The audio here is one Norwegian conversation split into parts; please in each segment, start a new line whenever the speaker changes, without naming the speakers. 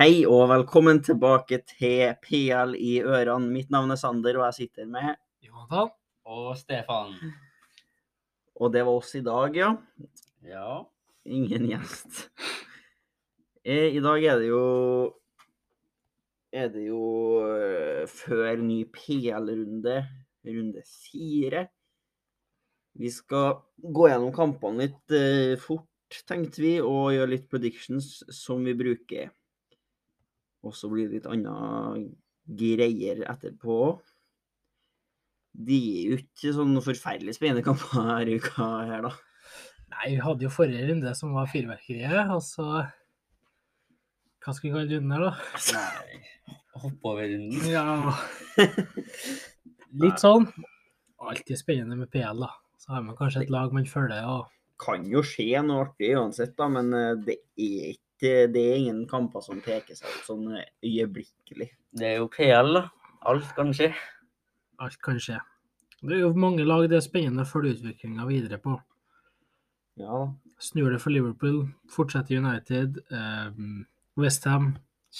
Hei og velkommen tilbake til PL i ørene. Mitt navn er Sander, og jeg sitter med
Jonathan og Stefan.
Og det var oss i dag, ja.
Ja.
Ingen gjest. Eh, I dag er det jo Er det jo eh, før ny PL-runde, runde fire. Vi skal gå gjennom kampene litt eh, fort, tenkte vi, og gjøre litt predictions som vi bruker. Og så blir det litt anna greier etterpå. De er jo ikke sånn forferdelig spennende kamper her i uka her, da.
Nei, vi hadde jo forrige runde som var fyrverkeriet, og så Hva skal vi kalle runden her, da?
Nei. Hoppe over runden.
Ja. Litt sånn. Alltid spennende med PL, da. Så har man kanskje et lag man følger, og
kan jo skje noe artig uansett, da, men eh, det er, ikke, det er ingen kamper som peker seg ut sånn eh, øyeblikkelig.
Det er jo PL, da. Alt kan skje.
alt kan skje. Det er jo mange lag det er spennende å følge utviklinga videre på.
Ja,
Snur det for Liverpool, fortsetter United, eh, Westham,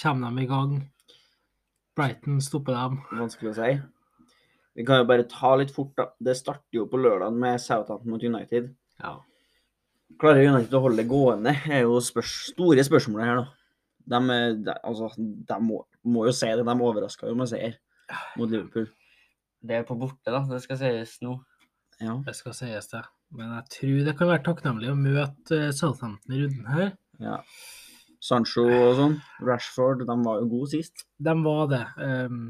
kommer de i gang? Brighton stopper dem.
vanskelig å si. Vi kan jo bare ta litt fort, da. Det starter jo på lørdag med Southampton mot United.
Ja.
Klarer United å holde det gående, er jo spørs store spørsmålet her, da. De, eh, de, altså, de må, må jo si det, de overraska jo med seier mot Liverpool.
Det er på borte, da. Det skal sies nå.
Ja.
Det skal sies, det. Men jeg tror det kan være takknemlig å møte eh, Southampton i runden her.
ja. Sancho og sånn. Rashford, de var jo gode sist.
De var det. ehm.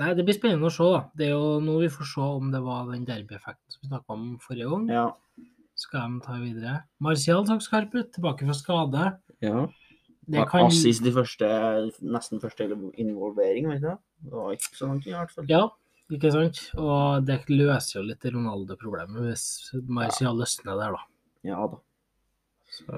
nei, det blir spennende å se, da. Det er jo nå vi får se om det var den derbyeffekten som vi snakka om forrige gang.
Ja.
Skal de ta videre? Martial tok skarp ut, tilbake fra skade.
ja.
Det kan
Assist i første, nesten første involvering, vet du det? Det var ikke så langt i hvert fall.
Ja, ikke sant? Og det løser jo litt Ronaldo-problemet hvis Martial løsner der, da.
Ja da.
Så,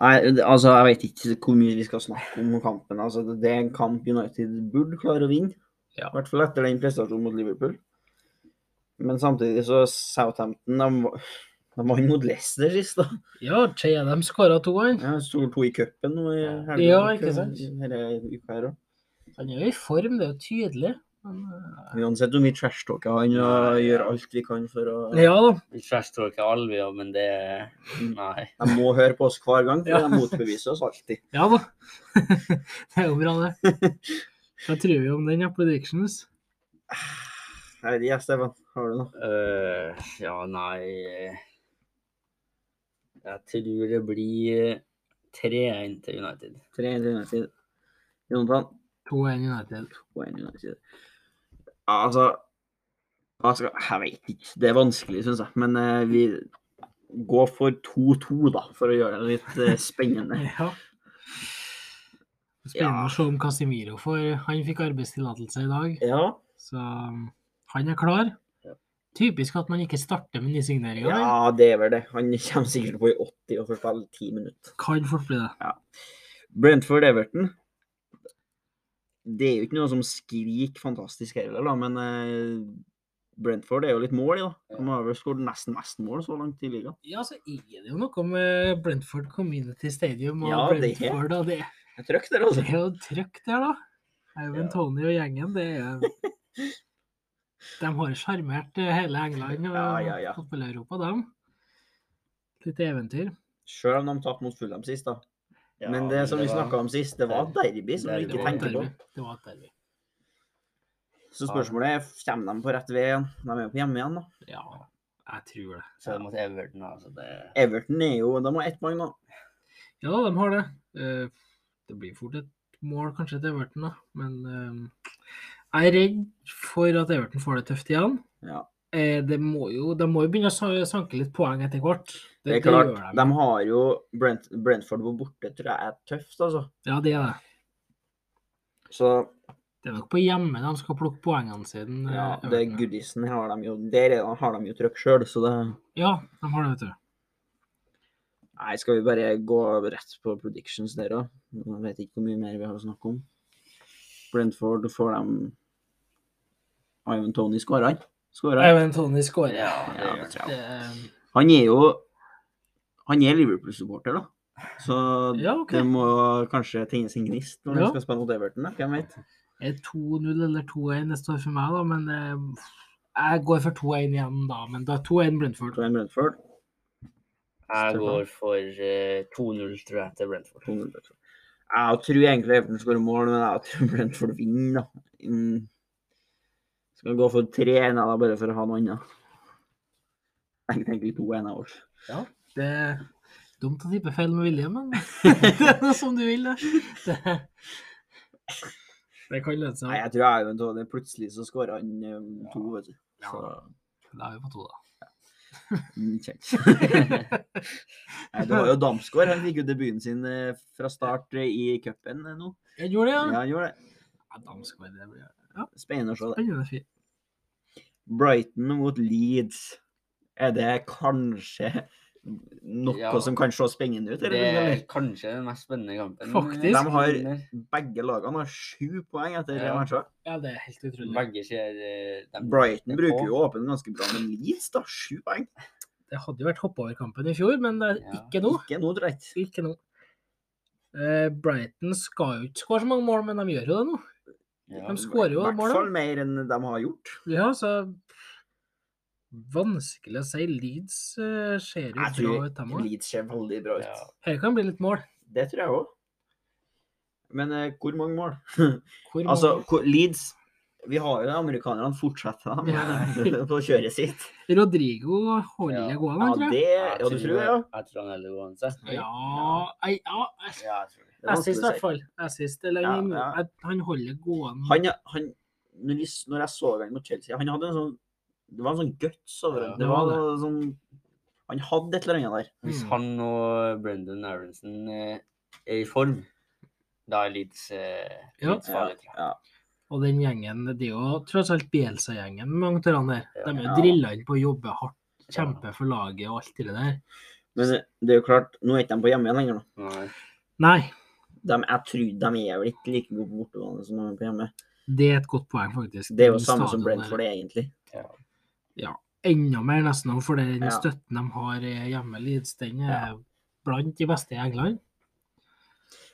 Nei, det- altså, jeg vet ikke hvor mye vi skal snakke om kampen. Altså, det det er en kamp United burde klare å vinne.
Ja.
I hvert fall etter den prestasjonen mot Liverpool. Men samtidig så Southampton de, var- de vant mot Leicester sist, da.
ja, Che Adams skåra to, han.
Ja, Sto to i cupen nå i helga.
Ja, ikke sant?
Denne uka her også.
Han er jo i form, det er jo tydelig. Men, eh,
Uansett hvor mye trash-talker han og
Nei, ja.
gjør alt vi kan for å
ja da.
Vi trashtalker ikke Alvia, men det Nei.
De må høre på oss hver gang, for
Ja.
de motbeviser oss alltid.
Ja da. det er jo bra, det. Hva tror vi om den, ja, predictions?
Jeg vet ikke, jeg, Stefan. Har du noe?
Øh, ja, nei Jeg tror det blir 3-1 til United.
Tre til United. Jonathan,
2-1 United.
poeng til United. Ja, Altså, altså Jeg vet ikke. Det er vanskelig, syns jeg. Men eh, vi går for 2-2, da, for å gjøre det litt eh, spennende.
Ja.
Ja.
Spennende å se om Casimiro får Han fikk arbeidstillatelse i dag,
Ja.
så um, han er klar. Typisk at man ikke starter med nysigneringer.
ja, det er vel det. Han kommer sikkert på i 80 og får spille 10 minutter.
Kan fort bli det.
Brentford Everton. Det er jo ikke noe som skriker fantastisk heller, da, men eh, Brentford er jo litt mål i, da. De har vel skåret nesten mest mål så langt i ligaen.
Ja, så er det jo noe med Brentford Community Stadium og
Ja, det er.
Brentford. Og det,
Det er trøkk der,
det
altså.
er jo trøkk der, da. Eivind
Ja.
Tony og gjengen, det er De har sjarmert eh, hele England og
Ja, ja, ja.
fotball-Europa, dem. Litt eventyr.
Sjøl om de tapte mot Fulham sist, da.
Ja,
men det som vi
var-
snakka om sist, det var et derby som vi
Derby.
ikke
var et
tenkte på.
derby. Det var et derby.
Så spørsmålet er kommer de på rett vei igjen. De er jo på hjemme igjen, da.
Ja, jeg tror det.
Så mot Everton, altså. Det
Everton er jo De har ett poeng nå.
Ja da, de har det. Eh, Det blir fort et mål kanskje til Everton, da. Men eh, jeg er redd for at Everton får det tøft igjen.
Ja.
Eh, Det må jo, de må jo begynne å sa- sanke litt poeng etter hvert.
Det er
gjør
klart. De har jo Brent, Brentford på borte, tror jeg er tøft, altså.
Ja, det er det.
Så
Det er nok på hjemme de skal plukke poengene sine. eh,
ja, det
Everton.
Goodison har de jo Der er- har de jo trøkk sjøl, så det
ja, de har det, vet du.
Nei, skal vi bare gå rett på predictions der òg? Jeg vet ikke hvor mye mer vi har å snakke om. Brentford får dem Ivan Tony skårer han. Skårer han.
Even Tony skårer.
Ja, det
Ja,
gjør
det
det.
tror jeg.
Det, eh,
Han er jo Han er Liverpool-supporter, da. Så
Ja, OK.
det må kanskje tennes en gnist når
Ja.
de skal spille mot Everton. da, Hvem vet?
Er 2-0 eller 2-1 neste år for meg, da? Men eh, jeg går for 2-1 igjen, da. Men da er 2-1 Brentford.
Så er Brentford.
Jeg
Stefan?
går for eh, 2-0, tror jeg, til Brentford.
2-0 Brentford. Jeg tror egentlig Everton skårer mål, men jeg tror Brentford vinner, da. Mm. Skal gå for 3-1 da, bare for å ha noe annet. Jeg tenker 2-1 av oss.
Det er dumt å tippe feil med vilje, men det er noe som du vil, det. Det, det kan lønne
Nei,
seg.
jeg tror jeg er jo en tåler. Plutselig så skårer han um, to, vet du.
Ja.
Så
Da er vi på to, da.
mm, kjent. Nei, det var jo Damsgaard. Han fikk jo debuten sin eh, fra start eh, i cupen eh, nå.
Jeg gjorde
Ja,
det, ja.
han gjorde det.
ja Damsgaard, det blir
Spennende å se det.
spennende. fint.
Brighton mot Leeds. Er det kanskje noe
Ja.
som kan se spennende ut?
Det
Eller?
er kanskje den mest spennende kampen. eh,
Faktisk.
De har- Begge lagene har sju poeng etter tre
Ja.
matcher.
Ja, det er helt utrolig.
Begge ser eh, de-
Brighton
Det er
bruker
på.
jo åpen ganske bra, men Leeds, da. Sju poeng.
Det hadde jo vært hoppoverkampen i fjor, men det er
Ja.
ikke nå.
Ikke noe drøyt.
Ikke nå. Eh, Brighton skal jo ikke skåre så mange mål, men de gjør jo det nå.
Ja.
De skårer jo
I hvert
mål, da.
fall mer enn de har gjort.
Ja, så Vanskelig å si. Leeds eh, ser
Jeg
jo bra
tror
ut, dem òg.
Leeds ser veldig bra ut.
Ja.
Her kan bli litt mål.
Det tror jeg òg. Men eh, hvor mange mål?
Hvor
altså, hvor, Leeds Vi har jo amerikanerne fortsetter dem
Ja.
eh, på kjøret sitt.
mange Rodrigo holder
Ja.
det gående,
Ja,
han, tror jeg.
det Ja, du tror det, ja?
Jeg tror han heller går seg.
Ja, ei, ja. jeg-
Ja, jeg tror det.
Det er
Assist, i
vanskelig å
hvert
si.
fall. Assist. Eller
Ja,
han-
ja.
jeg- han holder det gående.
han, han når, jeg, når jeg så ham mot Chelsea, han hadde en sånn Det var en sånn guts over ham.
Ja.
Det var noe sånn Han hadde et eller annet der.
Hvis
Mm.
han og Brendan Aronson eh, er i form, da er Leeds eh,
Ja.
Leeds farlig, tror jeg.
Ja.
Og den gjengen, det er jo tross alt Bielsa-gjengen med mange av de der. De er jo
Ja.
drilla inn på å jobbe hardt, kjempe for laget og alt det der.
Men det er jo klart, nå er ikke de på hjemmebane lenger. nå.
Nei.
Nei,
De, jeg tror de er vel ikke like gode på bortebane som de er på hjemme.
det er et godt poeng, faktisk.
Det er jo
Den
samme som
stadion der.
Brentford, egentlig.
Ja.
enda mer nesten nå, for den
Ja.
støtten de har eh, hjemme, Leeds, den er
Ja.
blant de beste i England.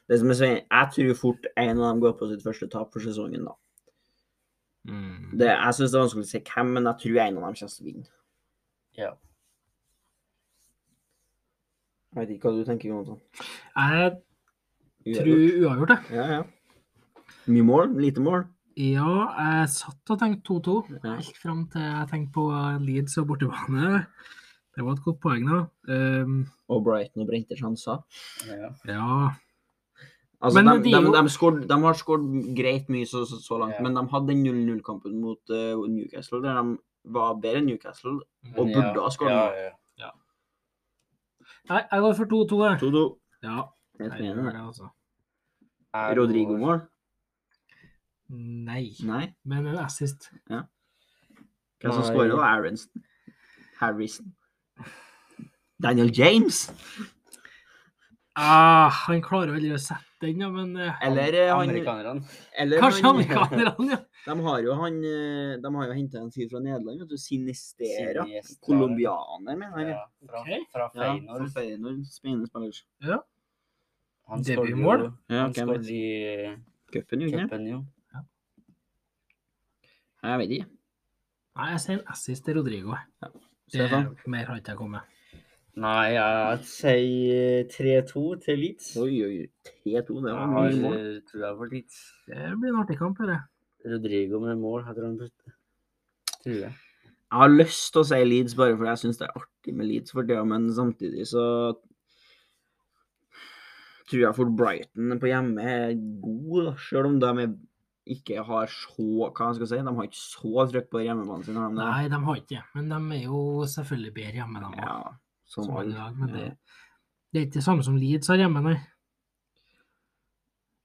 Det som er så, jeg tror fort en av dem går på sitt første tap for sesongen, da. Det, jeg syns det er vanskelig å si hvem, men jeg tror en av dem kommer til å vinne.
Ja.
Jeg vet ikke hva du tenker, Jonathan.
Jeg tror
Uavgjort.
uavgjort, jeg.
Ja, ja. Mye mål? Lite mål?
Ja, jeg satt og tenkte 2-2,
Ja.
helt fram til jeg tenkte på Leeds og bortebane. Det var et godt poeng, da. Ehm,
Og Brighton og brente sjanser.
ja.
ja,
Altså,
Men
de,
det er
de,
jo-
de, skård, de har skåret greit mye så, så, så langt,
Ja.
men de hadde den 0-0-kampen mot eh, Newcastle, der de var bedre enn Newcastle.
Men
Og
Men
burde ha skåret.
Ja,
mål.
ja.
Nei, jeg går for 2-2, jeg.
2-2.
Ja,
Jeg
jeg
mener
gjør
det.
det, altså.
Jeg går-
Rodrigo-mål?
Nei,
Nei.
men eh, en assist.
Hvem som
Nei.
skårer, da? Aronsen? Harrison? Daniel James?
Ah, han klarer jo aldri å sette den, ja, men eh,
Eller eh, han,
Amerikanerne.
eller
Kanskje
han-
amerikanerne, ja.
De har jo han eh, De har jo henta en fyr fra Nederland, vet du. Sinistera.
Sinisterra.
Colombianer, mener jeg.
Ja, fra,
Ok.
fra
Ja, fra
Feyenoord.
Feyenoord. Spennende spiller.
Han skårte jo-
Debutmål.
Ja,
Han
hvem
skårte
vet?
i eh,
Cupen, gjorde han det?
cupen, jo.
Jeg vet ikke.
Nei, jeg sier en assist til Rodrigo. jeg. Det
Stefan?
mer har ikke jeg kommet med.
Nei, jeg sier 3-2 til Leeds.
Oi, oi, oi. 3-2, det var
Jeg
mye
har
mål.
eh, trua på Leeds.
Det blir en artig kamp, dette.
Rodrigo med mål, jeg tror han putter. Tror jeg.
Jeg har lyst til å si Leeds bare fordi jeg syns det er artig med Leeds for tida, men samtidig så tror jeg for Brighton på hjemme er god, da, selv om de er- ikke har så Hva skal jeg si? De har ikke så trøkk på hjemmebanen sin. har de det?
Nei, de har ikke det. Men de er jo selvfølgelig bedre hjemme, de òg.
Ja, som
som alle
alle.
lag. Men det,
Ja.
det er ikke det samme som Leeds har hjemme, nei.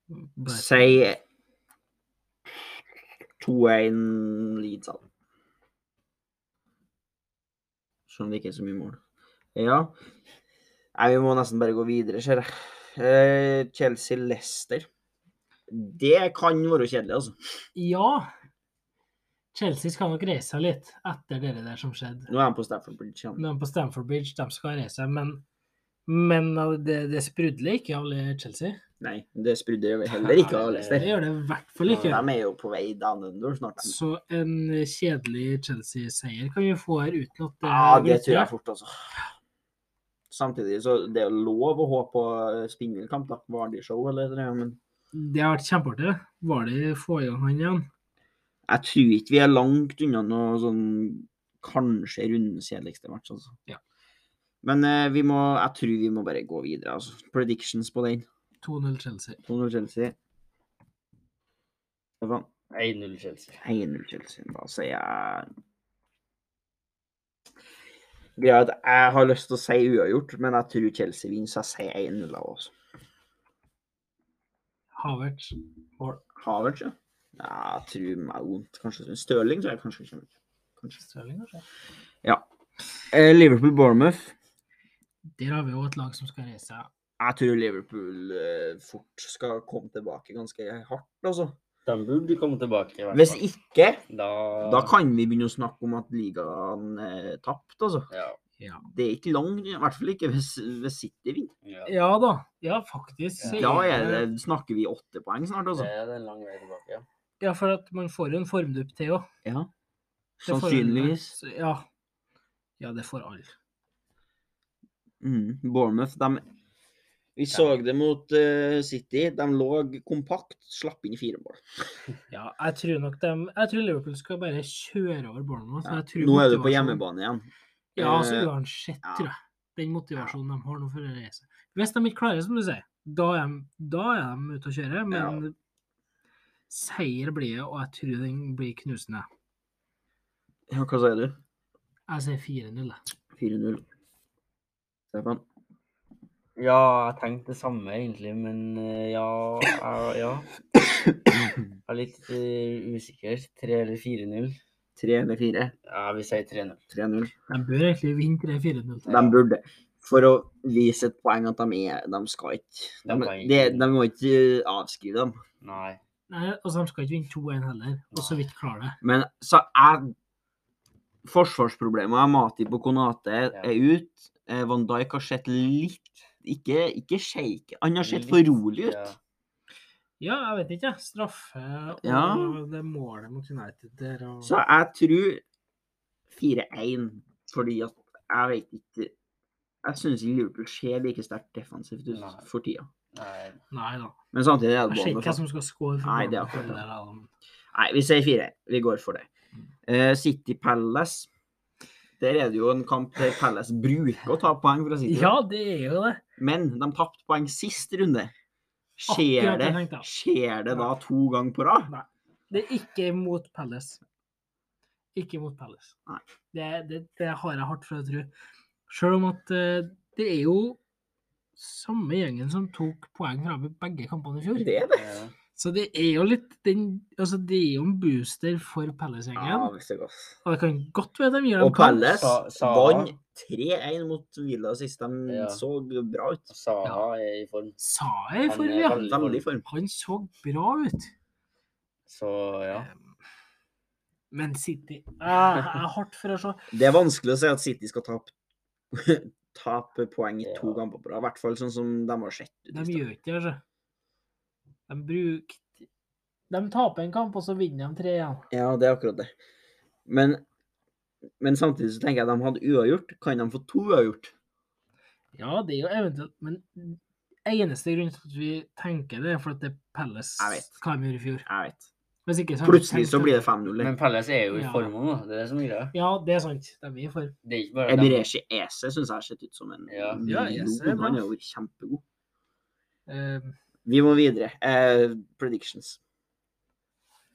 Bare-
Si 2-1 Leeds, da. Selv om det ikke er så mye mål. Ja. Nei, vi må nesten bare gå videre, ser jeg. Eh, Chelsea-Lester. Det kan være kjedelig, altså.
Ja! Chelsea skal nok reise seg litt etter det der som skjedde.
Nå er jeg på Stafford Bridge. igjen.
De på Stamford Bridge de skal reise seg, men Men eh, det, det sprudler ikke av Chelsea.
Nei, det sprudde jo heller ikke av
Det
Leicester.
gjør det i hvert fall
De
ikke.
er jo på vei down under snart. de.
Så en kjedelig Chelsea-seier kan vi få her uten at det
Ja, det
grøtner.
tror jeg fort, altså. Samtidig så det er jo lov å håpe på spinnvill kamp, da. Vardy-show eller noe, men
Det har vært kjempeartig. Var det få i gang han igjen?
jeg tror ikke vi er langt unna noe sånn kanskje rundens kjedeligste match, altså.
Ja.
Men eh, vi må, jeg tror vi må bare gå videre, altså. Predictions på den.
2-0 Chelsea.
2-0 Chelsea. Stefan,
1-0 Chelsea.
1-0 Chelsea. Da sier jeg Greia er at jeg har lyst til å si uavgjort, men jeg tror Chelsea vinner, så jeg sier 1-0 av oss.
Havertz. Mål.
Havertz, ja. ja. Jeg tror Mount kanskje Stirling tror jeg kanskje kommer. Kanskje.
Stirling, kanskje?
Eh, Liverpool-Bournemouth.
Der har vi jo et lag som skal reise seg.
Jeg tror Liverpool eh, fort skal komme tilbake ganske hardt, altså.
De burde komme tilbake. i hvert
Hvis
fall.
ikke,
da,
da kan vi begynne å snakke om at ligaen eh, tapte, altså.
ja,
Ja.
Det er ikke langt, i hvert fall ikke hvis, hvis City vinner.
ja,
ja da. Ja, faktisk. Eh, så
Da er det, snakker vi åtte poeng snart,
Det
altså.
er en lang vei tilbake. Ja.
Ja, for at man får jo en formdupp til òg.
Ja. Sannsynligvis.
Ja. ja, det får alle.
Mm. Bournemouth, de Vi så det mot eh, City. De lå kompakt, slapp inn fire mål.
Ja, jeg tror nok dem Jeg tror Liverpool skal bare kjøre over Bournemouth. så
Ja.
jeg tror
Nå er du på
motivasjonen-
hjemmebane igjen.
Ja, altså
Eh,
uansett,
ja.
tror jeg. Den motivasjonen de har nå for å reise. Hvis de ikke klarer, som du sier, da er de, da er de ute å kjøre. Men seier blir det, og jeg tror den blir knusende.
Ja, hva sier du?
Jeg sier 4-0. jeg.
4-0. Stefan?
ja, jeg tenkte det samme egentlig, men eh, ja, jeg- ja. Jeg er litt eh, usikker. 3 eller 4-0?
3 eller 4?
Ja, vi sier 3-0.
3-0.
De bør egentlig vinne 3-4-0.
De burde For å vise et poeng at de er De skal ikke
De
De,
kan ikke.
de, de må ikke eh, avskrive dem.
Nei.
Nei, altså, de skal ikke vinne 2-1 heller, og så vidt klarer det.
Men så jeg Forsvarsproblemet er Mati på Konate
Ja.
er ut. Eh, Van Dijk har sett litt Ikke, ikke shake. Han har sett
Litt,
for rolig ut.
Ja.
Ja, jeg vet ikke, jeg. Straffe og
Ja.
det målet mot United der og
Så jeg tror 4-1, fordi at jeg vet ikke Jeg syns ikke Liverpool ser like sterkt defensivt ut
Nei.
for tida.
Nei.
Nei da.
Men samtidig er det
Jeg ser ikke
Bournemouth. da.
hvem som skal score. for
Nei, det er
Bournemouth
akkurat det.
der, da, men-
Nei, vi sier 4-1. Vi går for det.
Mm.
Eh, City Palace. Der er det jo en kamp der Palace bruker å ta poeng fra City.
Ja, det er jo det.
Men de tapte poeng sist runde.
Akkurat
Skjer
det
det,
tenkte jeg.
skjer det da to ganger på rad?
Det er ikke mot Palace. Ikke mot Palace.
Nei.
Det, det, det har jeg hardt for å tro. Selv om at eh, det er jo samme gjengen som tok poeng fra begge kampene i fjor.
Det er det.
Ja.
Så det er jo litt den Altså, det er jo en booster for
Ja,
Palace-gjengen.
visst er det godt.
Og det kan godt være de gjør
Og
en kamp.
Palace
Sa- Sala.
vant 3-1 mot Villa sist. De
Ja.
så bra ut.
Saha er i form.
Sa jeg
Han
for
er
ja.
veldig-
Veldig i form.
Han så bra ut.
Så ja.
Men City Ah, Jeg jeg er hardt for å se.
Det er vanskelig å si at City skal tape tape poeng i to
Ja.
kamper på rad. I hvert fall sånn som de har sett ut. i
De
sted.
gjør ikke det, altså. De bruker De taper en kamp, og så vinner de tre igjen.
Ja, det er akkurat det. Men, men samtidig så tenker jeg at de hadde uavgjort. Kan de få to uavgjort?
Ja, det er jo eventuelt Men eneste grunn til at vi tenker det, er for at det er Palace
Jeg vet.
hva de gjorde i fjor.
Jeg vet.
Hvis ikke, så hadde vi
Plutselig
tenkt
så
at-
blir det 5-0.
Men Palace er jo i
Ja.
form nå. Det er det som er greia.
Ja, det er sant. De er i form.
Det er ikke bare dem.
Ebireshi Ese syns jeg har sett ut som en
Ja.
Ja,
million.
Eze er bra.
Han har vært kjempegod.
Eh,
Vi må videre. Eh, predictions.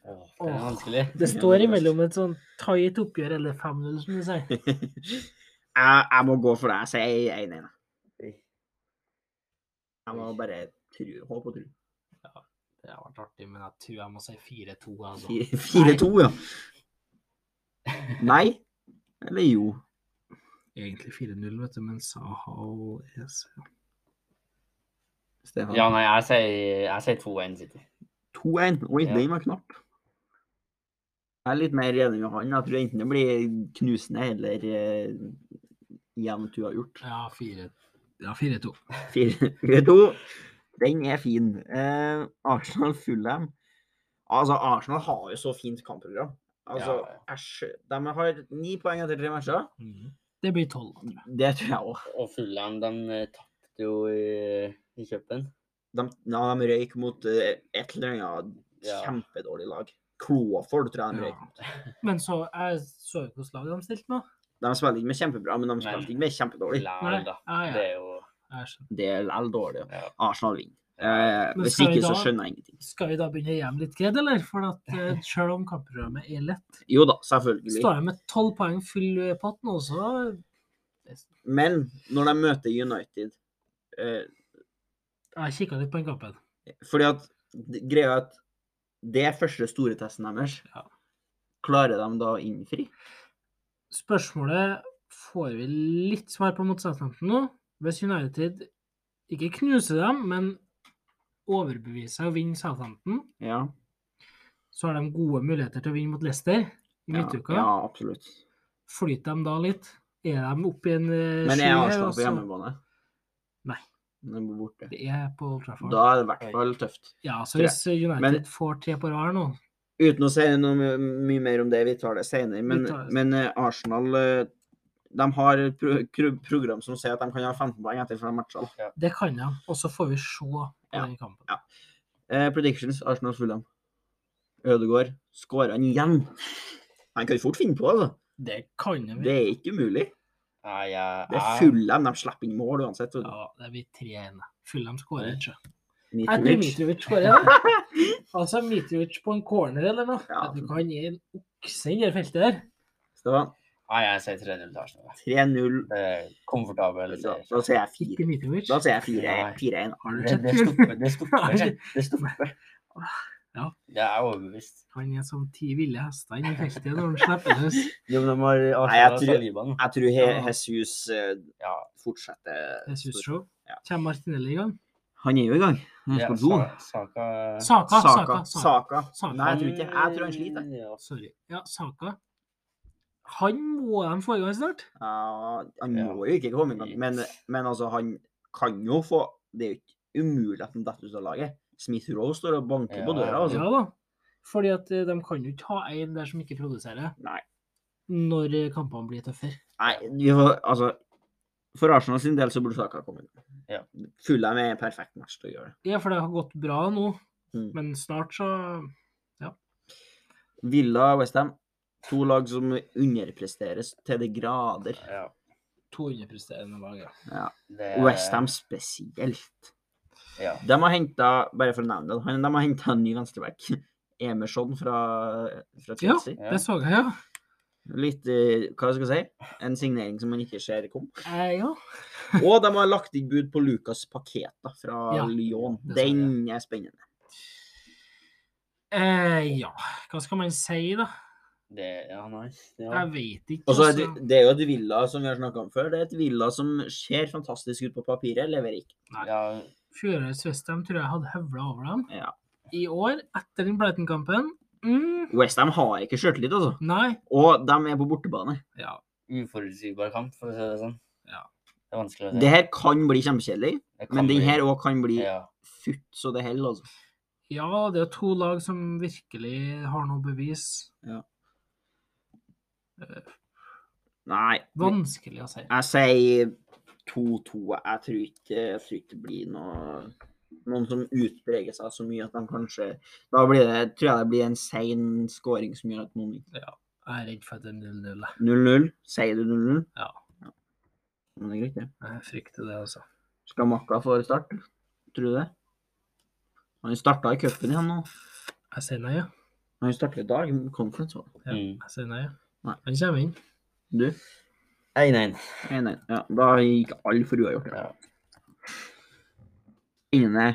Åh, det er
Åh.
vanskelig.
det
Ja,
står
det er
imellom et sånn tight oppgjør, eller 5-0, som du sier.
jeg, jeg må gå for det. Jeg sier 1-1. Jeg må bare tru, håpe og tro.
Det har vært artig, men jeg tror jeg må si 4-2.
Fire-
Altså.
4-2, ja. Nei? Eller jo.
Egentlig 4-0, vet du, men Saha og ES
Stefan.
Ja, nei, jeg sier, jeg sier 2-1 City.
2-1. Oi,
Ja.
den var knapp. Jeg er litt mer enig med han. Jeg tror enten det blir knusende eller eh, jevnt uavgjort.
Ja, 4 Ja, 4-2.
4-2. Den er fin. Eh, Arsenal Fulham Altså, Arsenal har jo så fint kampprogram. Altså,
Ja, ja.
æsj. De har ni poeng etter tre matcher.
Det blir 12. tror jeg.
Det tror jeg òg.
Og Fulham, de eh, tapte jo i, i cupen.
De, ja, de røyk mot eh, et eller annet
Ja.
kjempedårlig lag. Crawford, tror jeg de
Ja.
røyk.
Men så jeg så jo hvilket lag de stilte med.
De spilte ikke med kjempebra, men de spilte ikke med kjempedårlig.
Nei,
Lær, da.
ja, ja.
Det er jo
Jeg skjønner.
Det er likevel dårlig.
ja.
Arsenal vinner. Eh,
Men
hvis
skal vi
ikke, så
da-
skjønner jeg ingenting.
Skal vi da begynne å gjemme litt kred, eller? For at, eh, selv om kampprogrammet er lett,
Jo da, selvfølgelig.
står jeg med 12 poeng full pott nå, så
Men når de møter United eh,
Jeg kikka litt på den kampen.
Fordi at d- greia er at det er første store testen deres.
Ja.
Klarer de da å innfri?
Spørsmålet får vi litt svar på mot Southampton nå. Hvis United ikke knuser dem, men overbeviser og vinner Southampton,
Ja.
så har de gode muligheter til å vinne mot Leicester i
Ja,
midtuka.
ja absolutt.
Flyter de da litt? Er de oppe i en eh,
Men
sju
er
her,
Arsenal
og
på
så-
hjemmebane?
Nei.
De bor borte.
Det er på Old Trafford.
Da er det i hvert fall tøft.
ja, så
tror jeg.
hvis United
Men-
får tre på rad her nå
Uten å si noe my- mye mer om det, vi tar det senere. Men,
tar det
men eh, Arsenal eh, de har et pro kru- program som sier at de kan ha 15 poeng etter fem matcher.
Det kan de, og så får vi se på
Ja.
den kampen.
Eh, predictions Arsenal Fulham. Ødegaard skårer han igjen. Han kan fort finne på, altså.
Det kan de.
Det er ikke umulig.
Nei, jeg,
Det er
jeg-
Fulham. De slipper inn mål uansett. vet du.
Ja, det blir 3-1. Fulham skårer ikke. Jeg tror
Mitrovic.
Mitrovic skårer. ja. Altså Mitrovic på en corner eller noe.
Ja.
Jeg tror ikke han er en okse i det feltet der.
Så det var
Nei, ah, jeg sier 3-0 til Arsenal.
3-0.
Det er komfortabel
Da,
seier.
da sier jeg fire.
Ikke Mitrovic.
Da sier jeg fire-
Nei.
4-1.
Har du
Det,
sett
det
Fulham?
stopper. Det stopper. seg. Det stopper.
Ja.
Det er overbevist.
Han er som ti ville hester inni feltet når han slipper løs.
Jo, men de har
jeg
Arsenal og
tror-
Saliba nå.
Jeg tror he
Ja.
Jesus eh,
Ja.
fortsetter.
Det synes jeg.
Ja.
Kommer Martinelli i gang?
Han er jo i gang. Han
ja
skal gå.
Sa- Saka
Saka, Saka.
Saka. Saka.
Saka.
Nei, jeg
Mm.
tror ikke Jeg tror han sliter.
Ja.
Sorry. Ja, Saka. Han må de få i gang snart.
Ja, han
Ja.
må jo ikke komme i gang, men, men altså, han kan jo få Det er jo ikke umulig at han detter ut av laget. Smith Rowe står og banker på
Ja,
døra, altså.
Ja da. Fordi at eh, de kan jo ikke ha en der som ikke produserer,
Nei.
når eh, kampene blir tøffere.
Nei, vi får, altså For Arsenal sin del så burde Saka komme inn.
Ja.
Fulham er en perfekt match til å gjøre det.
Ja, for det har gått bra nå,
Mm.
men snart så
Villa Westham. To lag som underpresteres til de grader.
ja.
200 presterende lag, ja.
Det,
Westham spesielt.
Ja.
De har henta, bare for å nevne det, han- de har henta en ny venstreback. Emerson fra, fra
Ja,
Chelsea.
Ja.
det så jeg, ja.
Litt eh, hva skal jeg si, en signering som man ikke ser komme.
Eh, ja.
Og de har lagt inn bud på Lucas Paqueta fra
Ja,
Lyon.
det så jeg.
Den er spennende.
Eh, ja, hva skal man si, da?
Det, ja, nei. Ja.
Jeg vet ikke.
Og så er det,
altså.
det er jo et Villa som vi har snakka om før. Det er et Villa som ser fantastisk ut på papiret, leverer ikke.
ja.
Fjorårets Westham tror jeg hadde høvla over dem.
Ja.
I år, etter den Brighton-kampen mm,
Westham har ikke sjøltillit, altså.
Nei.
Og de er på bortebane.
Ja.
Uforutsigbar kamp, for å si det sånn.
Ja.
Det er vanskelig å si.
Det her kan bli kjempekjedelig,
Det kan
men den
bli-
her òg kan bli
ja.
futt så det holder, altså.
ja, det er to lag som virkelig har noe bevis.
Nei,
Vanskelig å si.
jeg sier 2-2. Jeg tror ikke jeg tror ikke det blir noe noen som utpreger seg så mye at de kanskje Da blir det, tror jeg det blir en sein scoring som gjør at noen
Jeg er redd for at det er 0-0. jeg.
0-0. Sier du 0-0?
Ja.
Men det er greit, det.
Jeg frykter det, altså.
Skal Makka få start? Tror du det? Han starta i cupen igjen nå.
Jeg sier nei, ja.
Han starter i dag. i Conference. var det.
ja.
Mm.
Jeg sier nei, ja.
Nei.
Han kommer inn.
Du?
1-1.
1-1. Ja, da gikk alle for uavgjort.
Ja.
Inne.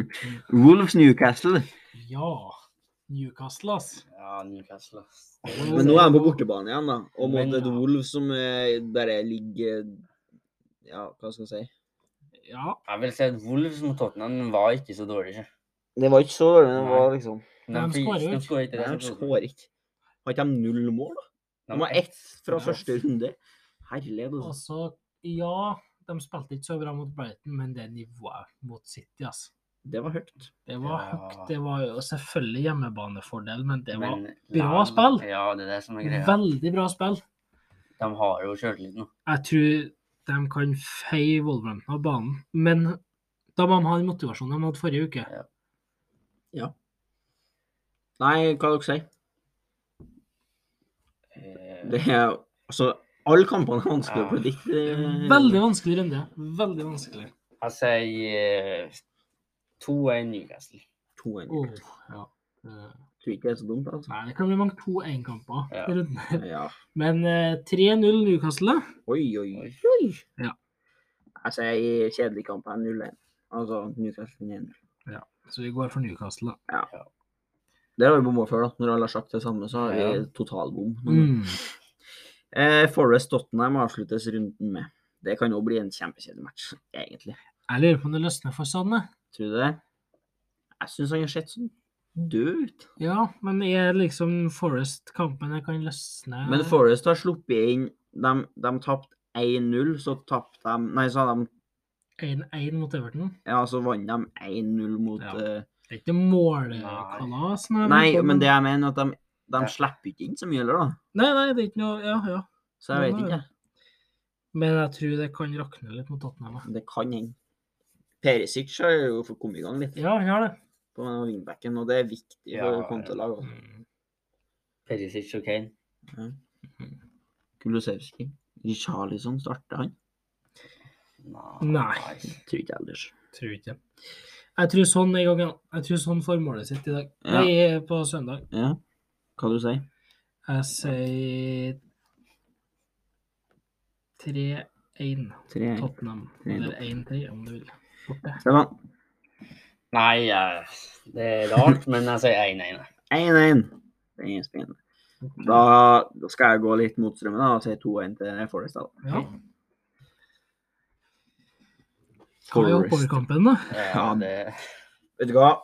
Wolves Newcastle.
Ja. Newcastle, ass.
Ja, Newcastle, ass.
Men nå er han på bortebane igjen, da. Og mot
Men-
et Wolves som eh, bare ligger Ja, hva skal jeg si?
Ja.
Jeg vil si at Wolves mot Tottenham var ikke så dårlig. ikke?
Det var ikke så dårlig, men
det var
liksom
Men de skårer jo
de
ikke.
skårer ikke. det
De
som Tottenham.
skårer ikke. Har ikke de null mål, da?
De
De
har
har ett fra
Ja.
første runde. Herlighet, altså.
Altså, ja, De spilte ikke så bra mot Brighton, men det nivået mot City, altså.
Det var høyt.
Det var
Ja.
høyt. Det var jo selvfølgelig hjemmebanefordel, men det var
Men
bra
lag-
spill.
Ja, det er det som er greia.
veldig bra spill.
De har jo sjøltillit nå.
Jeg tror de kan feie Wolverhampton av banen, men da må de ha den motivasjonen de hadde forrige uke.
Nei, hva dere sier.
Eh,
Det er altså Alle kampene er vanskelig å
Ja.
predikte.
Veldig vanskelig runde. Veldig vanskelig.
Jeg sier eh, 2-1 Newcastle.
2-1.
Åh,
Jeg
ja. Eh,
tror ikke det er så dumt, altså.
Oh. Nei, det kan bli mange 2-1-kamper.
Ja.
Ja.
Men eh, 3-0 Newcastle.
Oi, oi,
Oi.
oi.
Ja.
Jeg sier kjedelig kamp er 0-1. Altså Newcastle 1
Så vi går for Newcastle. da.
Det har vi bomma før, da. Når alle har sagt det samme, så har vi
Ja.
totalbom.
Mm.
Eh, Forest Tottenham avsluttes runden med. Det kan jo bli en kjempekjedelig match, egentlig.
Jeg lurer på om det løsner for Sanne.
Tror du det? Jeg syns han har sett sånn død ut.
Ja, men er liksom Forest-kampene kan løsne
Men Forest har sluppet inn De, de tapte 1-0, så tapte de Nei, så, hadde de,
1-1 mot Everton?
ja, så vant de 1-0 mot
Ja.
eh,
Det er ikke målekalas? når de
Nei,
får-
men det jeg mener, at de, de
Ja.
slipper ikke inn så mye heller, da.
Nei, nei, det er ikke noe Ja, ja.
Så jeg
Nei,
vet
nei.
ikke.
Men jeg tror det kan rakne litt mot Tottenham. da.
Det kan hende. Perisic har jo fått kommet i gang litt
Ja, gjør det.
på den wingbacken, og det er viktig for
Ja,
kontelag. altså.
Mm.
Perisic og Kane.
Kulusevski. Richarlison starter han.
Nei.
Tror ikke ellers.
Tror ikke. Jeg tror sånn er i gang, ja. Jeg tror sånn får målet sitt i dag.
Ja.
Nei, på søndag.
Ja. Hva du sier
Jeg sier 3-1
Tre.
Tottenham. Eller 1-3, om du vil. Borte.
Stefan.
Nei, eh, det er rart, men jeg sier 1-1. jeg.
1-1. Det er spennende. Da, da skal jeg gå litt mot strømmen da, og si 2-1 til Forest. da.
Ja. Hva er oppoverkampen, da?
Ja, det
Vet du hva?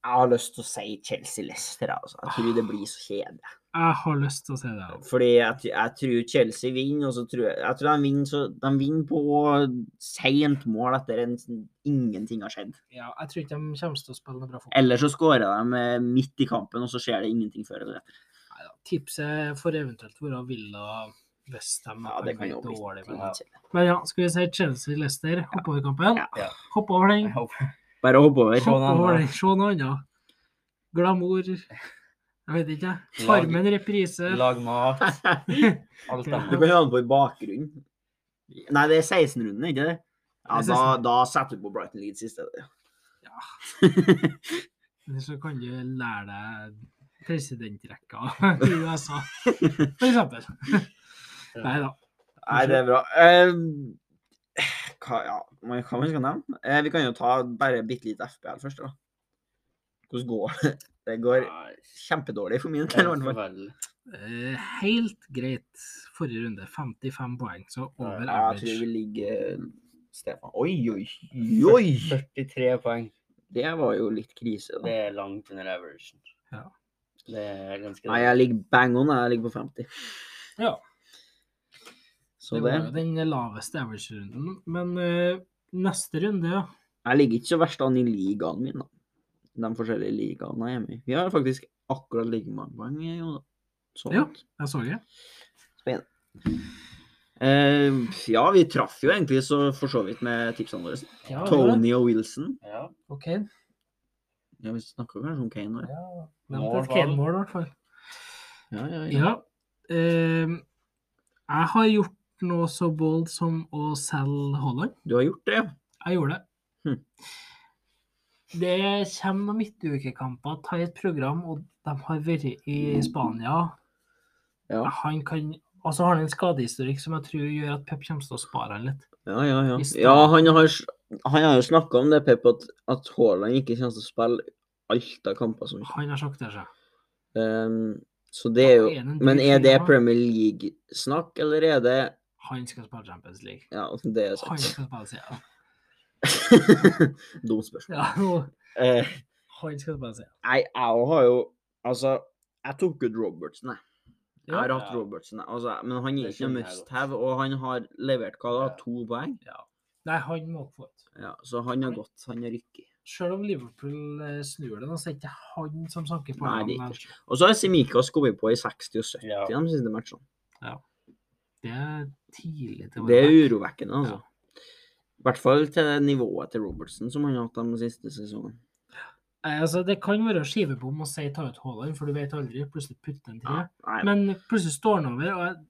Jeg har lyst til å si Chelsea-Leicester. Altså. Jeg tror det blir så kjedelig.
Jeg har lyst til å se det. altså.
Fordi jeg, tr- jeg tror Chelsea vinner, og så tror jeg, jeg tror de vinner, så, de vinner på sent mål etter en, sånn, ingenting har skjedd.
Ja, jeg tror ikke de kommer til å spille noe bra fotball.
Eller så skårer de eh, midt i kampen, og så skjer det ingenting før eller etter.
Neida. Tipset får eventuelt være Villa Westham.
Ja, det kan jo bli
dårlig. Men,
Ja.
kjedelig.
men ja, skal vi si Chelsea-Lester, oppoverkampen?
Ja.
Ja.
Hopp over den.
jeg håper-
Bare hopp over.
Se
Hopp
noe annet.
over den. Se noe annet. Glamour. Jeg vet ikke. jeg. Farmen reprise.
Lag mat,
Du
alt
Ja.
det der.
kan ha den på i bakgrunnen. Nei, det er 16-runden, ikke det? Ja,
Det
da,
er 16.
da setter du på Brighton Leeds i stedet.
Ja. Så kan du lære deg presidentrekka i USA, for eksempel. Nei da.
Nei, det er bra. Eh, hva, ja, man- hva man skal nevne? Eh, vi kan jo ta bare bitte litt FBL først, da. Hvordan går det? Det går
Nei,
kjempedårlig for min
det er
del, i hvert fall.
forferdelig.
Eh, Helt greit forrige runde. 55 poeng, så over
Ja, Jeg tror vi
average.
ligger eh, Stefan. Oi, oi, oi!
43 poeng.
Det var jo litt krise, da.
Det er langt under averagen.
Ja.
Det er ganske
Nei, jeg ligger bang on. Jeg ligger på 50.
Ja.
Så
det
det
var jo den laveste average-runden. Men eh, neste runde, ja.
Jeg ligger ikke så verst an i ligaen min, da. De forskjellige ligaene jeg er med i. Vi har faktisk akkurat like mange poeng, jo da. Sånn.
Ja. Jeg så det.
Eh, ja, vi traff jo egentlig så for så vidt med tipsene våre.
Ja,
Tony og Wilson.
Ja.
OK.
Ja, vi snakker kanskje om Kane nå. ja.
Nevnte
Mål,
et Kane-mål, i hvert fall.
Ja, ja, ja.
Ja. eh, jeg har gjort noe så bold som å selge Holland.
Du har gjort det, ja.
Jeg gjorde det.
Hm.
Det kommer noen midtukekamper, ta i et program, og de har vært i Spania.
Ja.
Han kan, og så har han en skadehistorikk som jeg tror gjør at Pep kommer til å spare han litt.
Ja, ja, ja.
I starten.
ja han, har, s- han har jo snakka om det, Pep, at, at Haaland ikke kommer til å spille alt av kamper som
Han har sagt det seg.
Ehm, Så det er jo
Er det en dyr
Men er
ting
det
å ha?
Premier League-snakk, eller er det
Han skal spille Champions League.
Ja, det er
Han
sant.
skal spille CL.
Dumt spørsmål.
Ja, nå-
Eh,
han skal spille CL.
Nei, jeg òg har jo Altså, jeg tok ut Robertsen, jeg. Jeg har
Ja.
hatt
Ja.
Robertsen, altså, men han er ikke
Det
noe
skjønner jeg
must have, og han har levert hva da?
Ja.
To poeng?
Nei, han må ikke få ut.
Ja, så han har gått, han har rykket.
Selv om Liverpool eh, snur det, nå, så er det ikke han som sanker på
Nei, det er
ham.
Og så har Simikaz kommet på i 60 og 70
Ja.
de siste matchene.
Det er tidlig til å
Det er
være back.
urovekkende, altså. I hvert fall til det nivået til Robertson som han har hatt de siste sesongene.
Nei, altså, det kan være skivebom å si ta ut Haaland, for du vet aldri. Plutselig putter han til.
Ja. Nei,
Men plutselig står han over, og jeg-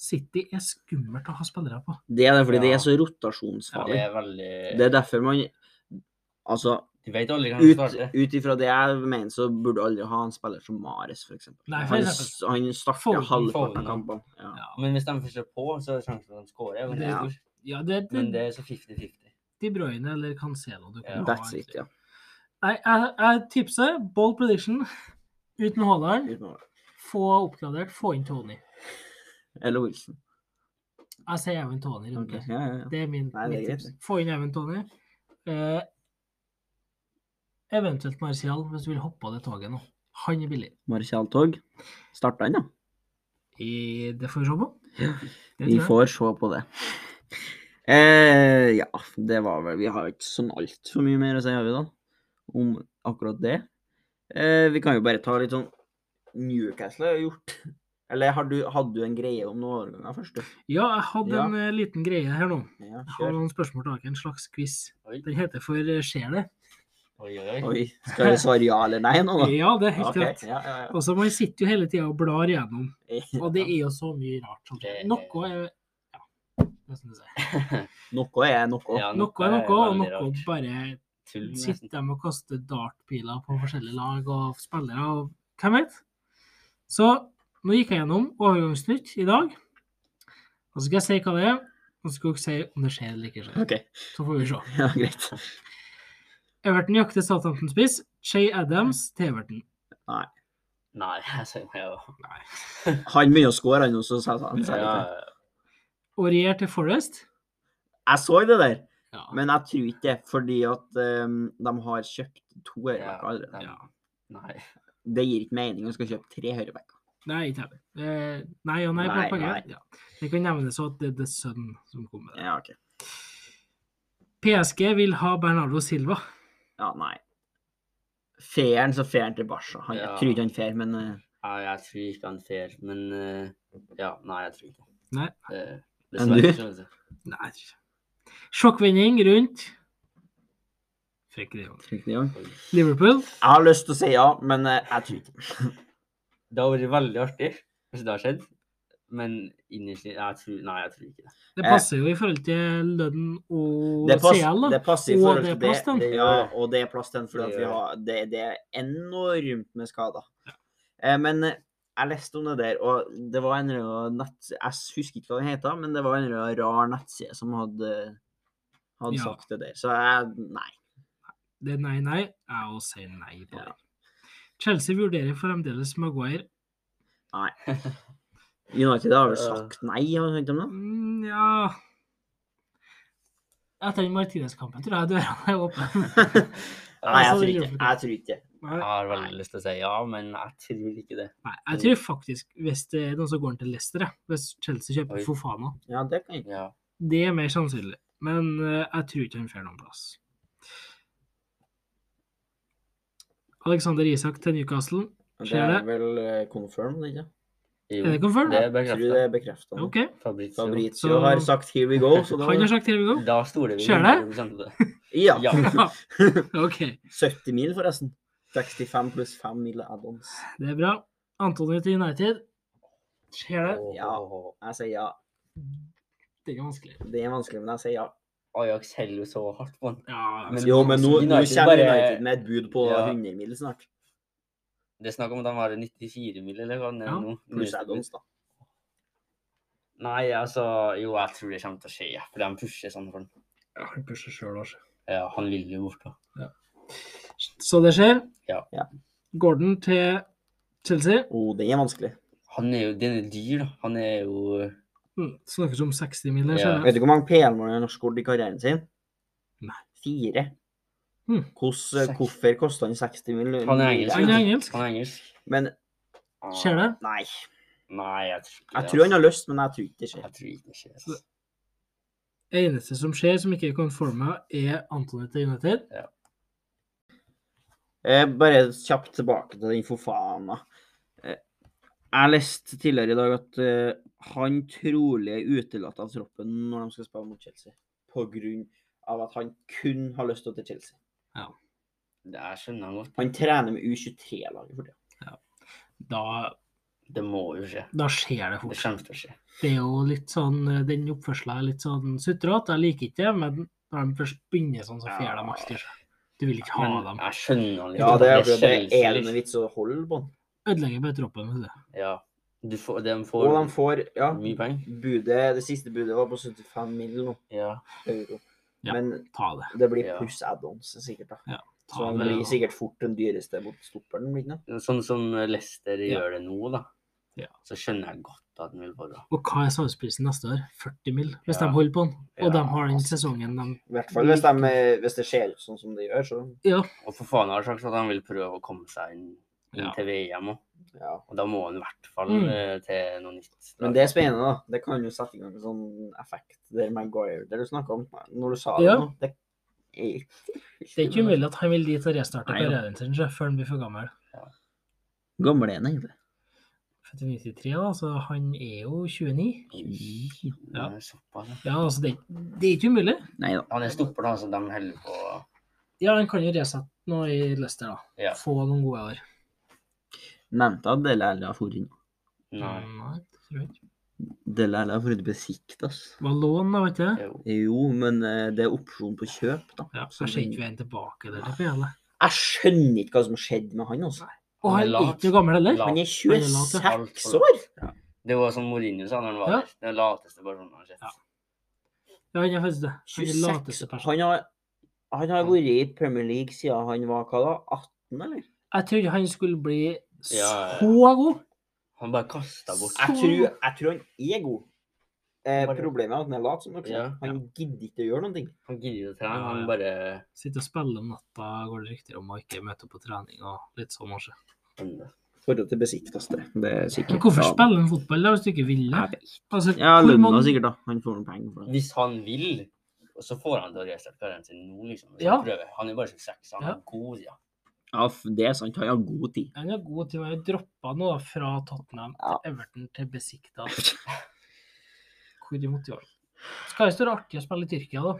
City er skummelt å ha spillere på.
Det er det, fordi det
Ja.
er så
Det
rotasjonsfarlig.
er veldig
Det er derfor man Altså,
Du vet aldri hvem som
ut,
starter.
ut ifra det jeg mener, så burde du aldri ha en spiller som Mares, f.eks.
Nei, for
Han,
eksempel.
s- han starter
Foden,
halvparten
Foden,
av
ja.
kampene. Ja.
Men hvis de først er på, så er sjansen for at de scorer. veldig
Ja.
stor.
Ja, det, det,
Men det er så 50-50.
De Bruyne eller Cancelo du kan
Ja.
ha.
That's it,
egentlig.
ja.
Nei, jeg, jeg tipser bold prediction uten Haaland.
Uten å-
Få oppgradert, få inn Tony.
Eller Wilson.
Jeg sier Even Tony. i runden.
Ok, Ja, ja, ja.
Det er min,
Nei, det er
mitt
greit,
tips. Få inn Even Tony. Eh, eventuelt Martial, hvis du vil hoppe av det toget nå. Han er billig.
Martial Tog. Starta han, ja?
I, det får vi se på.
Ja,
Det
Vi
tror jeg.
får se på det. Eh, ja, det var vel Vi har jo ikke sånn altfor mye mer å si, har vi da? Om akkurat det. Eh, vi kan jo bare ta litt sånn Newcastle har gjort Eller har du, hadde du en greie om noen overganger først? du?
Ja, jeg hadde
Ja.
en eh, liten greie her nå.
Ja,
Jeg har
kjør.
noen spørsmål til dere, en slags quiz.
Oi,
Den heter For eh, skjer det?
oi, oi. oi.
Oi, skal vi svare ja eller nei nå, da?
Ja, det er helt
Ok,
rett.
ja, ja, ja.
Altså, man sitter jo hele tida og blar gjennom.
Eh,
Og det er jo så mye rart. Som
Det
skjer.
er-
Noe er ja, hva skal jeg si.
Noe er noe.
Noe
Ja,
er noe, og noe
veldig rart.
bare
Tull, nesten.
sitter de og kaster dartpiler på forskjellige lag og spillere og hvem vet? Så nå gikk jeg gjennom overgangsnytt i dag. Og så skal jeg si hva det er, og så skal dere si om det skjer eller ikke skjer.
Ok,
Så får vi se.
ja, greit.
Everton jakter Southampton-spiss. Shay Adams til Everton.
Nei, altså, jeg sier meg jo.
Han begynner å score, han også. sa han sa
Ja,
litt.
Aurier til Forest.
Jeg så det der,
Ja.
men jeg tror ikke det, fordi at eh, de har kjøpt to
ja,
ørebakker allerede.
nei,
Ja.
Nei.
det gir ikke mening å skal kjøpe tre høyrebacker.
Nei, ikke heller. Eh, nei og nei, på
Nei,
et par
nei.
grep. Ja. Det kan nevnes også at det er The Sun som kommer.
Ja, ok.
PSG vil ha Bernardo Silva.
Ja, nei. Feren, så feren til Barca. Han, Jeg
Ja.
tror ikke han fer, men eh,
Nei, jeg tror ikke han fer, men eh, Ja, nei, jeg tror ikke det.
Nei.
det.
Men du?
Dessverre. så vet du.
Nei. jeg tror ikke. Sjokkvending rundt Frekk det jo.
tror ikke det gjør han.
Liverpool.
Jeg har lyst til å si ja, men eh, jeg tror ikke
Det har vært veldig artig hvis det har skjedd, men innerst inne jeg tror- Nei, jeg tror ikke det.
Det
Eh.
passer jo i forhold til lønn og
det. Pass,
CL, da.
det passer i
Og
forhold
det
til
er
det.
plass til den.
det ja, og det er plass til den, fordi
Det
at vi
gjør
har, det, det er enormt med skader. Eh, Men eh, jeg leste om det der, og det var en eller annen nett... Jeg husker ikke hva den heter, men det var en eller annen rar nettside som hadde, hadde
Ja.
sagt det der. Så jeg, nei.
Det er nei, nei. Jeg òg sier nei på
Ja.
det. Chelsea vurderer fremdeles Maguire.
United har vel
Ja.
sagt nei, har du hørt om det?
Mm, ja Etter den Martinez-kampen tror jeg dørene er åpne.
Nei, jeg
Altså,
tror
det
ikke.
gjør
Jeg tror ikke.
Nei.
Jeg har veldig lyst til å si ja, men jeg tror ikke det.
Nei, jeg tror faktisk, hvis det er noen som går til Leicester, jeg, hvis Chelsea kjøper
Oi.
Fofana,
Ja, det kan jeg.
Ja.
det er mer sannsynlig. Men eh, jeg tror ikke han får noen plass. Alexander Isak til Newcastle.
Det
Skjer
er
det?
vel eh, confirmed, ikke?
Jo,
Er det confirmed?
Det er
Jeg tror det
bekreftet.
er bekreftet. nå.
OK.
Fabrizio.
Fabrizio
Så-
har sagt 'here we go', så da
Han har sagt here we go.
Da stoler vi
Skjer det?
100 på det.
Ja.
Ja.
Ja. OK,
70 mil, forresten. 65 pluss 5 mil add-ons.
det er bra. Antony til United. Skjer det?
Ja. Jeg sier ja.
Det er vanskelig.
Det er vanskelig, men jeg sier ja.
Ajax heller jo så hardt på han.
Ja,
Men-
Jo, men nå, nå
United
kommer
bare-
United med et bud på
Ja.
100 mil snart.
Det er snakk om at han var 94 mil, eller hva han er
Ja,
nå?
Pluss add-ons, da.
Nei, altså Jo, jeg tror det kommer til å skje, ja, for de pusher sånn for han.
han pusher sjøl, altså.
Ja, han vil jo bort, da.
Så det skjer.
Ja.
Ja.
Gordon til Chelsea.
Å, det er vanskelig.
Han er jo Den er dyr, da. Han er jo
Mm, Snakkes om 60 mil,
Ja.
skjer det?
Vet du hvor mange PL-mål han har skåret i karrieren sin?
Nei.
Fire. Hm.
Hmm.
Hvordan- eh,
Seks.
hvorfor kosta han 60 mil?
Han er engelsk.
Han er engelsk.
Han er engelsk.
Men
Skjer det?
nei.
Nei, jeg tror ikke
Jeg tror han har lyst, men jeg tror ikke det
altså.
skjer.
Jeg tror ikke det skjer.
Så-
Altså.
Det eneste som skjer som ikke er conforma, er Antony til United.
Eh, bare kjapt tilbake til den Fofana. Eh, jeg leste tidligere i dag at eh, han trolig er utelatt av troppen når de skal spille mot Chelsea. På grunn av at han kun har lyst til å til Chelsea.
Det jeg skjønner jeg godt.
Han trener med U23-laget for det.
Da,
Det må jo skje.
da skjer det
Det
fort.
kommer til å skje.
Det er jo litt sånn, eh, Den oppførselen er litt sånn sutrete. Jeg liker ikke det, men når de først begynner sånn, så fjerner de alltid seg. Du vil ikke ha
Men
dem.
jeg skjønner han litt.
Ja, det er, det
Chelsea,
er det noen
liksom.
vits å holde på han.
Ødelegger bare troppen. vet du.
Ja. Du får, de får,
Og de får ja,
mye penger.
budet, Det siste budet var på 75 mill. nå,
Ja.
euro.
Ja.
Men
Ta det.
det blir
Ja.
pluss add-ons sikkert, da. Så
Ta
han
det.
blir sikkert fort den dyreste mot stopperen. blir han ikke det?
Sånn som Leicester
Ja.
gjør det nå, da.
Ja.
Så skjønner jeg godt at han vil få det.
Og hva er salgsprisen neste år? 40 mill. hvis
Ja.
de holder på den. Og
Ja,
de har den
altså.
sesongen de
I hvert fall hvis, de, hvis det skjer ut sånn som det gjør, så
Ja.
Og for faen har sagt at han vil prøve å komme seg inn, inn
Ja.
til VM òg.
ja.
Og da må han i hvert fall
Mm.
eh, til noe nytt.
Men det er spennende, da. Det kan jo sette i gang en sånn effekt der Maguire Det du snakka om når du sa det
Ja.
nå. Det er
Det er ikke umulig at han vil dit og restarte
Nei, ja.
karrieren sin sjø, før han blir for gammel.
Gamle er han egentlig.
Født i 93, da, så han er jo 29.
Oi,
Ja.
det er såpass, ja.
Ja, altså, det, det er ikke umulig.
Nei da.
Han er stopper, da, så de holder på.
Ja, han kan jo resette noe i Leicester, da.
Ja.
Få noen gode år.
Nevnte at Dele Alli har vært
Nei.
det tror jeg ikke.
Dele Alli har vært besikta, altså.
Det var lån, da, vet du.
Jo.
Jo, men eh, det er opsjon på kjøp, da.
Ja,
Så
så ser
den-
ikke veien tilbake der. det er hele.
Jeg skjønner ikke hva som har skjedd med han. altså.
Og
Han er
han er
lat.
ikke noe gammel heller.
Lat.
Han er
Han er lat, altså.
26
ja.
år!
Det var som Mourinho sa når han var
Ja.
der. Den lateste personen han har sett.
Ja. Ja, han er faktisk det. Han er den
26.
lateste personen.
Han har, han har vært i Premier League siden han var hva da? 18, eller?
Jeg trodde han skulle bli så
ja.
god.
Han bare kasta bort.
Så-
Jeg tror, jeg tror han er god. Eh,
Bare-
problemet er at han er lat. som dere
Ja.
sier. Han gidder ikke å gjøre noen ting.
Han gidder ikke å trene.
Ja, ja.
Han bare
Sitter og spiller om natta, går det rykter om, og ikke møter på trening og litt sånn, kanskje.
Forhold til besiktaste. Det er sikkert.
Men hvorfor
Ja,
spiller han fotball da, hvis du ikke vil det?
jeg vet.
Altså,
Ja,
hvor
lønna
mange-
sikkert, da. Han får noen penger for det.
Hvis han vil, så får han til å restarte karrieren sin nå, liksom. Hvis
Ja.
han prøver. Han er bare 26, han er
Ja.
god, ja.
Ja, f- det er sant. Han har god tid.
Han er god til å droppe noe fra Tottenham
Ja.
til Everton til Besikta. Hvor imot i år. Skal jo være artig å spille i Tyrkia, da.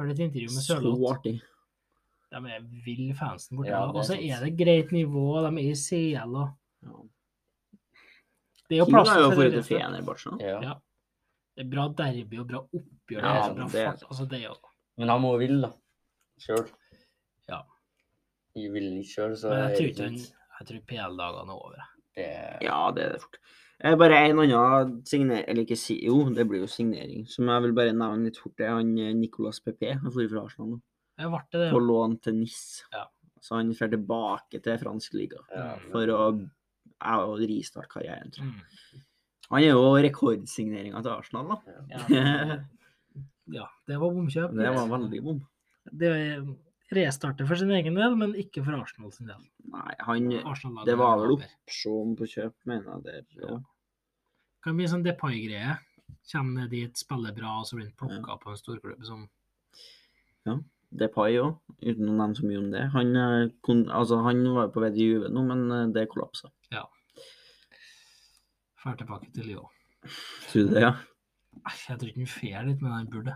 Hørte et intervju med
Så
Sørloth.
artig.
De er vill fansen borte.
Ja,
da.
det er
og så
sant.
er det greit nivå, og de er i CL og
Ja.
Det er jo
Kim
plass
har jo
for
forhold til
det.
Fenerbahçe. da.
ja.
Ja. Det er bra derby og bra oppgjør.
Ja,
det er bra
det er
fart. Altså, det er jo
Men han må jo ville, da. Sjøl.
Ja.
Jeg vil ikke sjøl, så
Men jeg
er
tror
det
ikke han
litt-
Jeg tror PL-dagene er over. jeg.
det-
Ja, det er det fort. Eh, Bare en annen signer... Eller ikke si... Jo, det blir jo signering. Som jeg vil bare nevne litt fort, det er han eh, Nicolas Pepe. Han dro fra Arsenal nå.
Jeg ble det, det.
På lån til NIS.
Ja.
Så han drar tilbake til fransk liga
ja,
for å jeg og ristarte karrieren. tror jeg.
Mm.
Han er jo rekordsigneringa til Arsenal, da.
Ja,
det
ja, det var bomkjøp.
var veldig bom.
Det restarter for sin egen del, men ikke for Arsenal sin del.
Nei, han
Arsenal-laget
Det var
er
vel
over.
opsjon på kjøp, mener jeg. det er. Ja.
kan bli sånn Depay-greie. Kommer ned dit, spiller bra, og så blir han plukka på en storklubb som
Depay òg, uten å nevne så mye om det. Han, eh, kon, altså, han var jo på vei til Juve nå, men eh, det kollapsa.
drar tilbake til Lyon.
Tror du det, ja?
Æsj, Jeg tror ikke han fer dit, men han burde.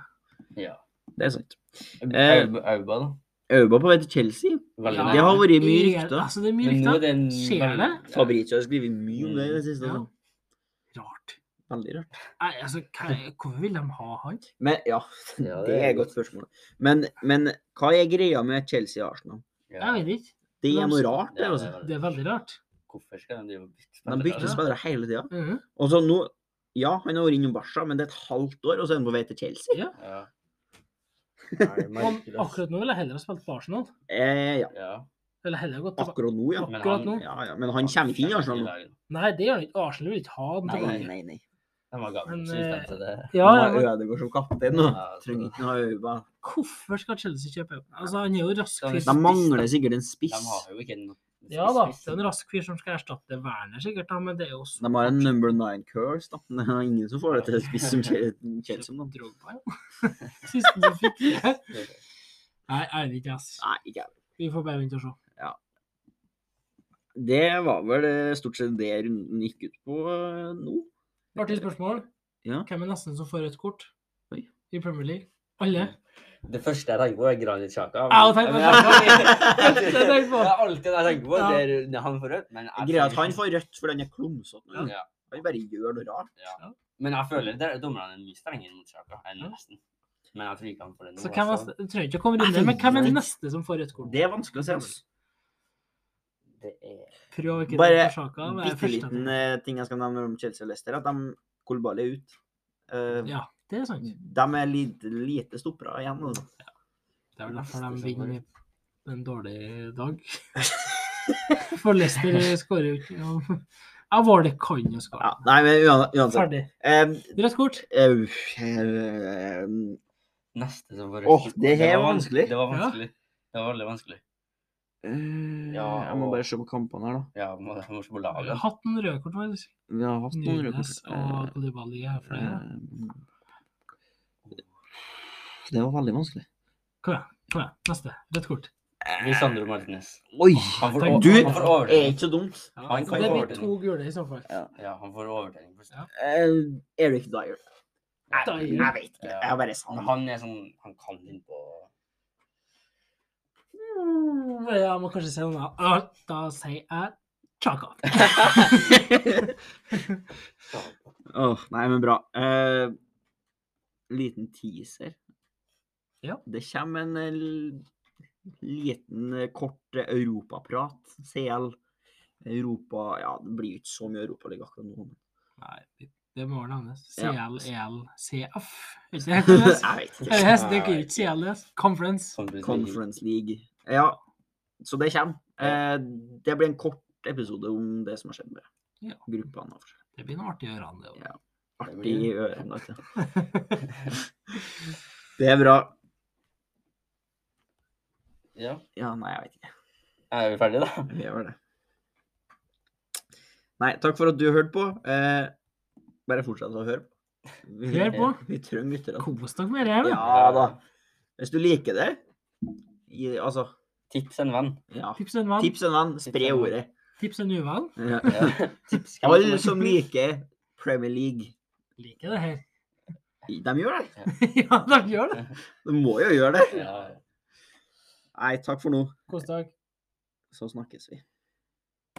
ja.
Det er sant. Eh,
Au- Auba, da.
Auba på vei til Chelsea.
Veldig
Ja.
nær.
Det har vært mye
Er-
rykter.
Altså, det er mye
Men nå er
rykter.
det en
Skjer
veldig-
Fabrizio har skrevet mye om det i det siste.
Ja.
altså.
Rart.
Veldig rart.
Nei, altså, hva, hvorfor vil de ha han?
Men ja,
Ja,
det er et godt spørsmål. Men, men hva er greia med Chelsea og Arsenal?
Ja.
Jeg vet ikke.
Det er
Men-
noe rart, det.
Ja,
altså.
Det er veldig rart.
Hvorfor skal de drive og bytte
De bytter
spillere?
spillere hele tida.
Mhm.
Og så nå Ja, han har vært innom Barca, men det er et halvt år, og så er han på vei til Chelsea.
Ja.
Ja. Nei, det
Og
merker, altså.
akkurat nå vil jeg heller ha spilt på Arsenal.
Eh, ja.
Ja.
Eller heller gått tilbake.
Akkurat nå, ja.
Men
Akkurat
han-
nå.
Ja, ja, men han kommer ikke inn i altså. Arsenal nå.
Nei, det gjør han ikke. Arsenal vil ikke ha han
Nei,
tilbake.
nei, nei.
De var gamle,
Men,
så
eh,
stemte det.
Ja,
Han
ja,
har
men
Ødegaard som kaptein nå.
Ja,
Trenger ikke noe Auba.
hvorfor skal Chelsea kjøpe? Altså, han er jo rask
De
fyr.
De mangler sikkert en
De
spiss.
har jo ikke noe
Ja da, det er en rask fyr som skal erstatte Werner, sikkert, da, men det er jo så
De har en number nine curse, da. Men det er ingen som får det til å spise som Chel- Chelsea. Da.
Drogba, ja. Siste du fikk det her. Nei, jeg vet ikke, ass.
Nei, ikke jeg.
Vi får bare vente og se.
Det var vel eh, stort sett det runden gikk ut på eh, nå.
Artig spørsmål.
Ja.
Hvem er nesten som får rødt kort
Oi.
i Premier League? Alle?
Det første jeg tenker på, er Granit Xhaka.
Jeg har tenkt på
Men
Det
jeg-
har jeg tenkt på.
Det er alltid det jeg tenker på.
Ja.
Det er det er han for rødt. Men jeg,
Greia er at han får rødt fordi han er klumsete.
Ja.
Han bare gjør noe rart.
Men jeg føler det er dommerne er mye strengere mot Xhaka enn
Ja.
resten. Men jeg tror ikke han får det nå.
Så hvem er,
altså.
jeg trenger ikke å komme rundt det, men hvem er den neste som får rødt kort?
Det er vanskelig å se. Altså.
Det er
Prøv å ikke
Bare
tenke på Sjaka. men det er
Bitte
første jeg
liten eh,
tenker.
ting jeg skal nevne om Chelsea og Leicester, er at de Kolbali er ut. Eh,
Ja, det er sant.
De er lite, lite stoppere igjen. Altså.
Det er vel derfor de
Leicester som
vinner en dårlig dag. For Leicester skårer jo ikke noe. Ja, var det kan jo skåre.
Ja, nei, men uan- uansett.
Ferdig.
Eh,
Rødt kort.
eh, eh,
neste som får rødt.
Åh,
kort.
det her
var
er vanskelig.
Det var
Ja.
vanskelig. Det var veldig vanskelig.
eh,
Ja,
jeg må
og-
bare se på kampene her, da.
Ja, må, må se på
Vi har
laget.
hatt noen røde kort, faktisk.
Vi har hatt noen røde
Nunes
kort.
og Kolibali er
Eh,
flere.
eh, det var veldig vanskelig.
Kom igjen. kom igjen. Neste. Rødt kort.
Lisandro Martinez.
Oi!
Han får,
Tenk-
over-
Du
han får
er
overtenning.
ikke så dumt.
Han kan
det
få
blir
den.
to gule i så fall.
Ja.
Ja, han får overtenning. først.
Ja.
Eh, Eric Dyer. Jeg,
Dyer.
jeg vet ikke.
Ja.
Jeg har bare
Han,
sagt
han er sånn Han kan innpå
Mm, Jeg må kanskje si noe annet. Ah, Da sier jeg Chaka.
Åh, nei, men bra. Eh, liten teaser.
Ja.
Det kommer en eh, l- liten, eh, kort eh, europaprat. CL. Europa Ja, det blir jo ikke så mye Europaliga akkurat nå. men-
Nei, det må vel navnes.
Ja.
E CLELCF. Er ikke det helt annerledes?
Jeg vet
Det er
ikke.
hest, det er ikke E CLS. Conference.
sånn-
Conference League. Ja, så det kommer. Eh, det blir en kort episode om det som har skjedd med
Ja.
gruppene. og forskjellig.
Det blir noe artig å gjøre han det også.
Ja.
Det
Artig i
blir-
ørene. vet du. Det er bra.
Ja.
Ja, nei, jeg vet ikke.
Er vi ferdige, da?
Vi gjør det. Nei, takk for at du hørte på. Eh, bare fortsett å høre på. Vi,
Hør på.
Vi trenger lyttere.
Kos dere med det. vel?
Ja da. Hvis du liker det, gi, altså
Tips en venn.
ja.
Tips en venn.
Tips en venn, spre
en venn.
ordet.
Tips en uvenn.
Ja.
Ja. Tips hvem
Alle
som
som liker Premier League,
Liker det her.
de gjør det.
ja, de gjør det.
De må jo gjøre det.
er- Ja.
Nei, takk for nå.
Kos dere.
Så snakkes vi.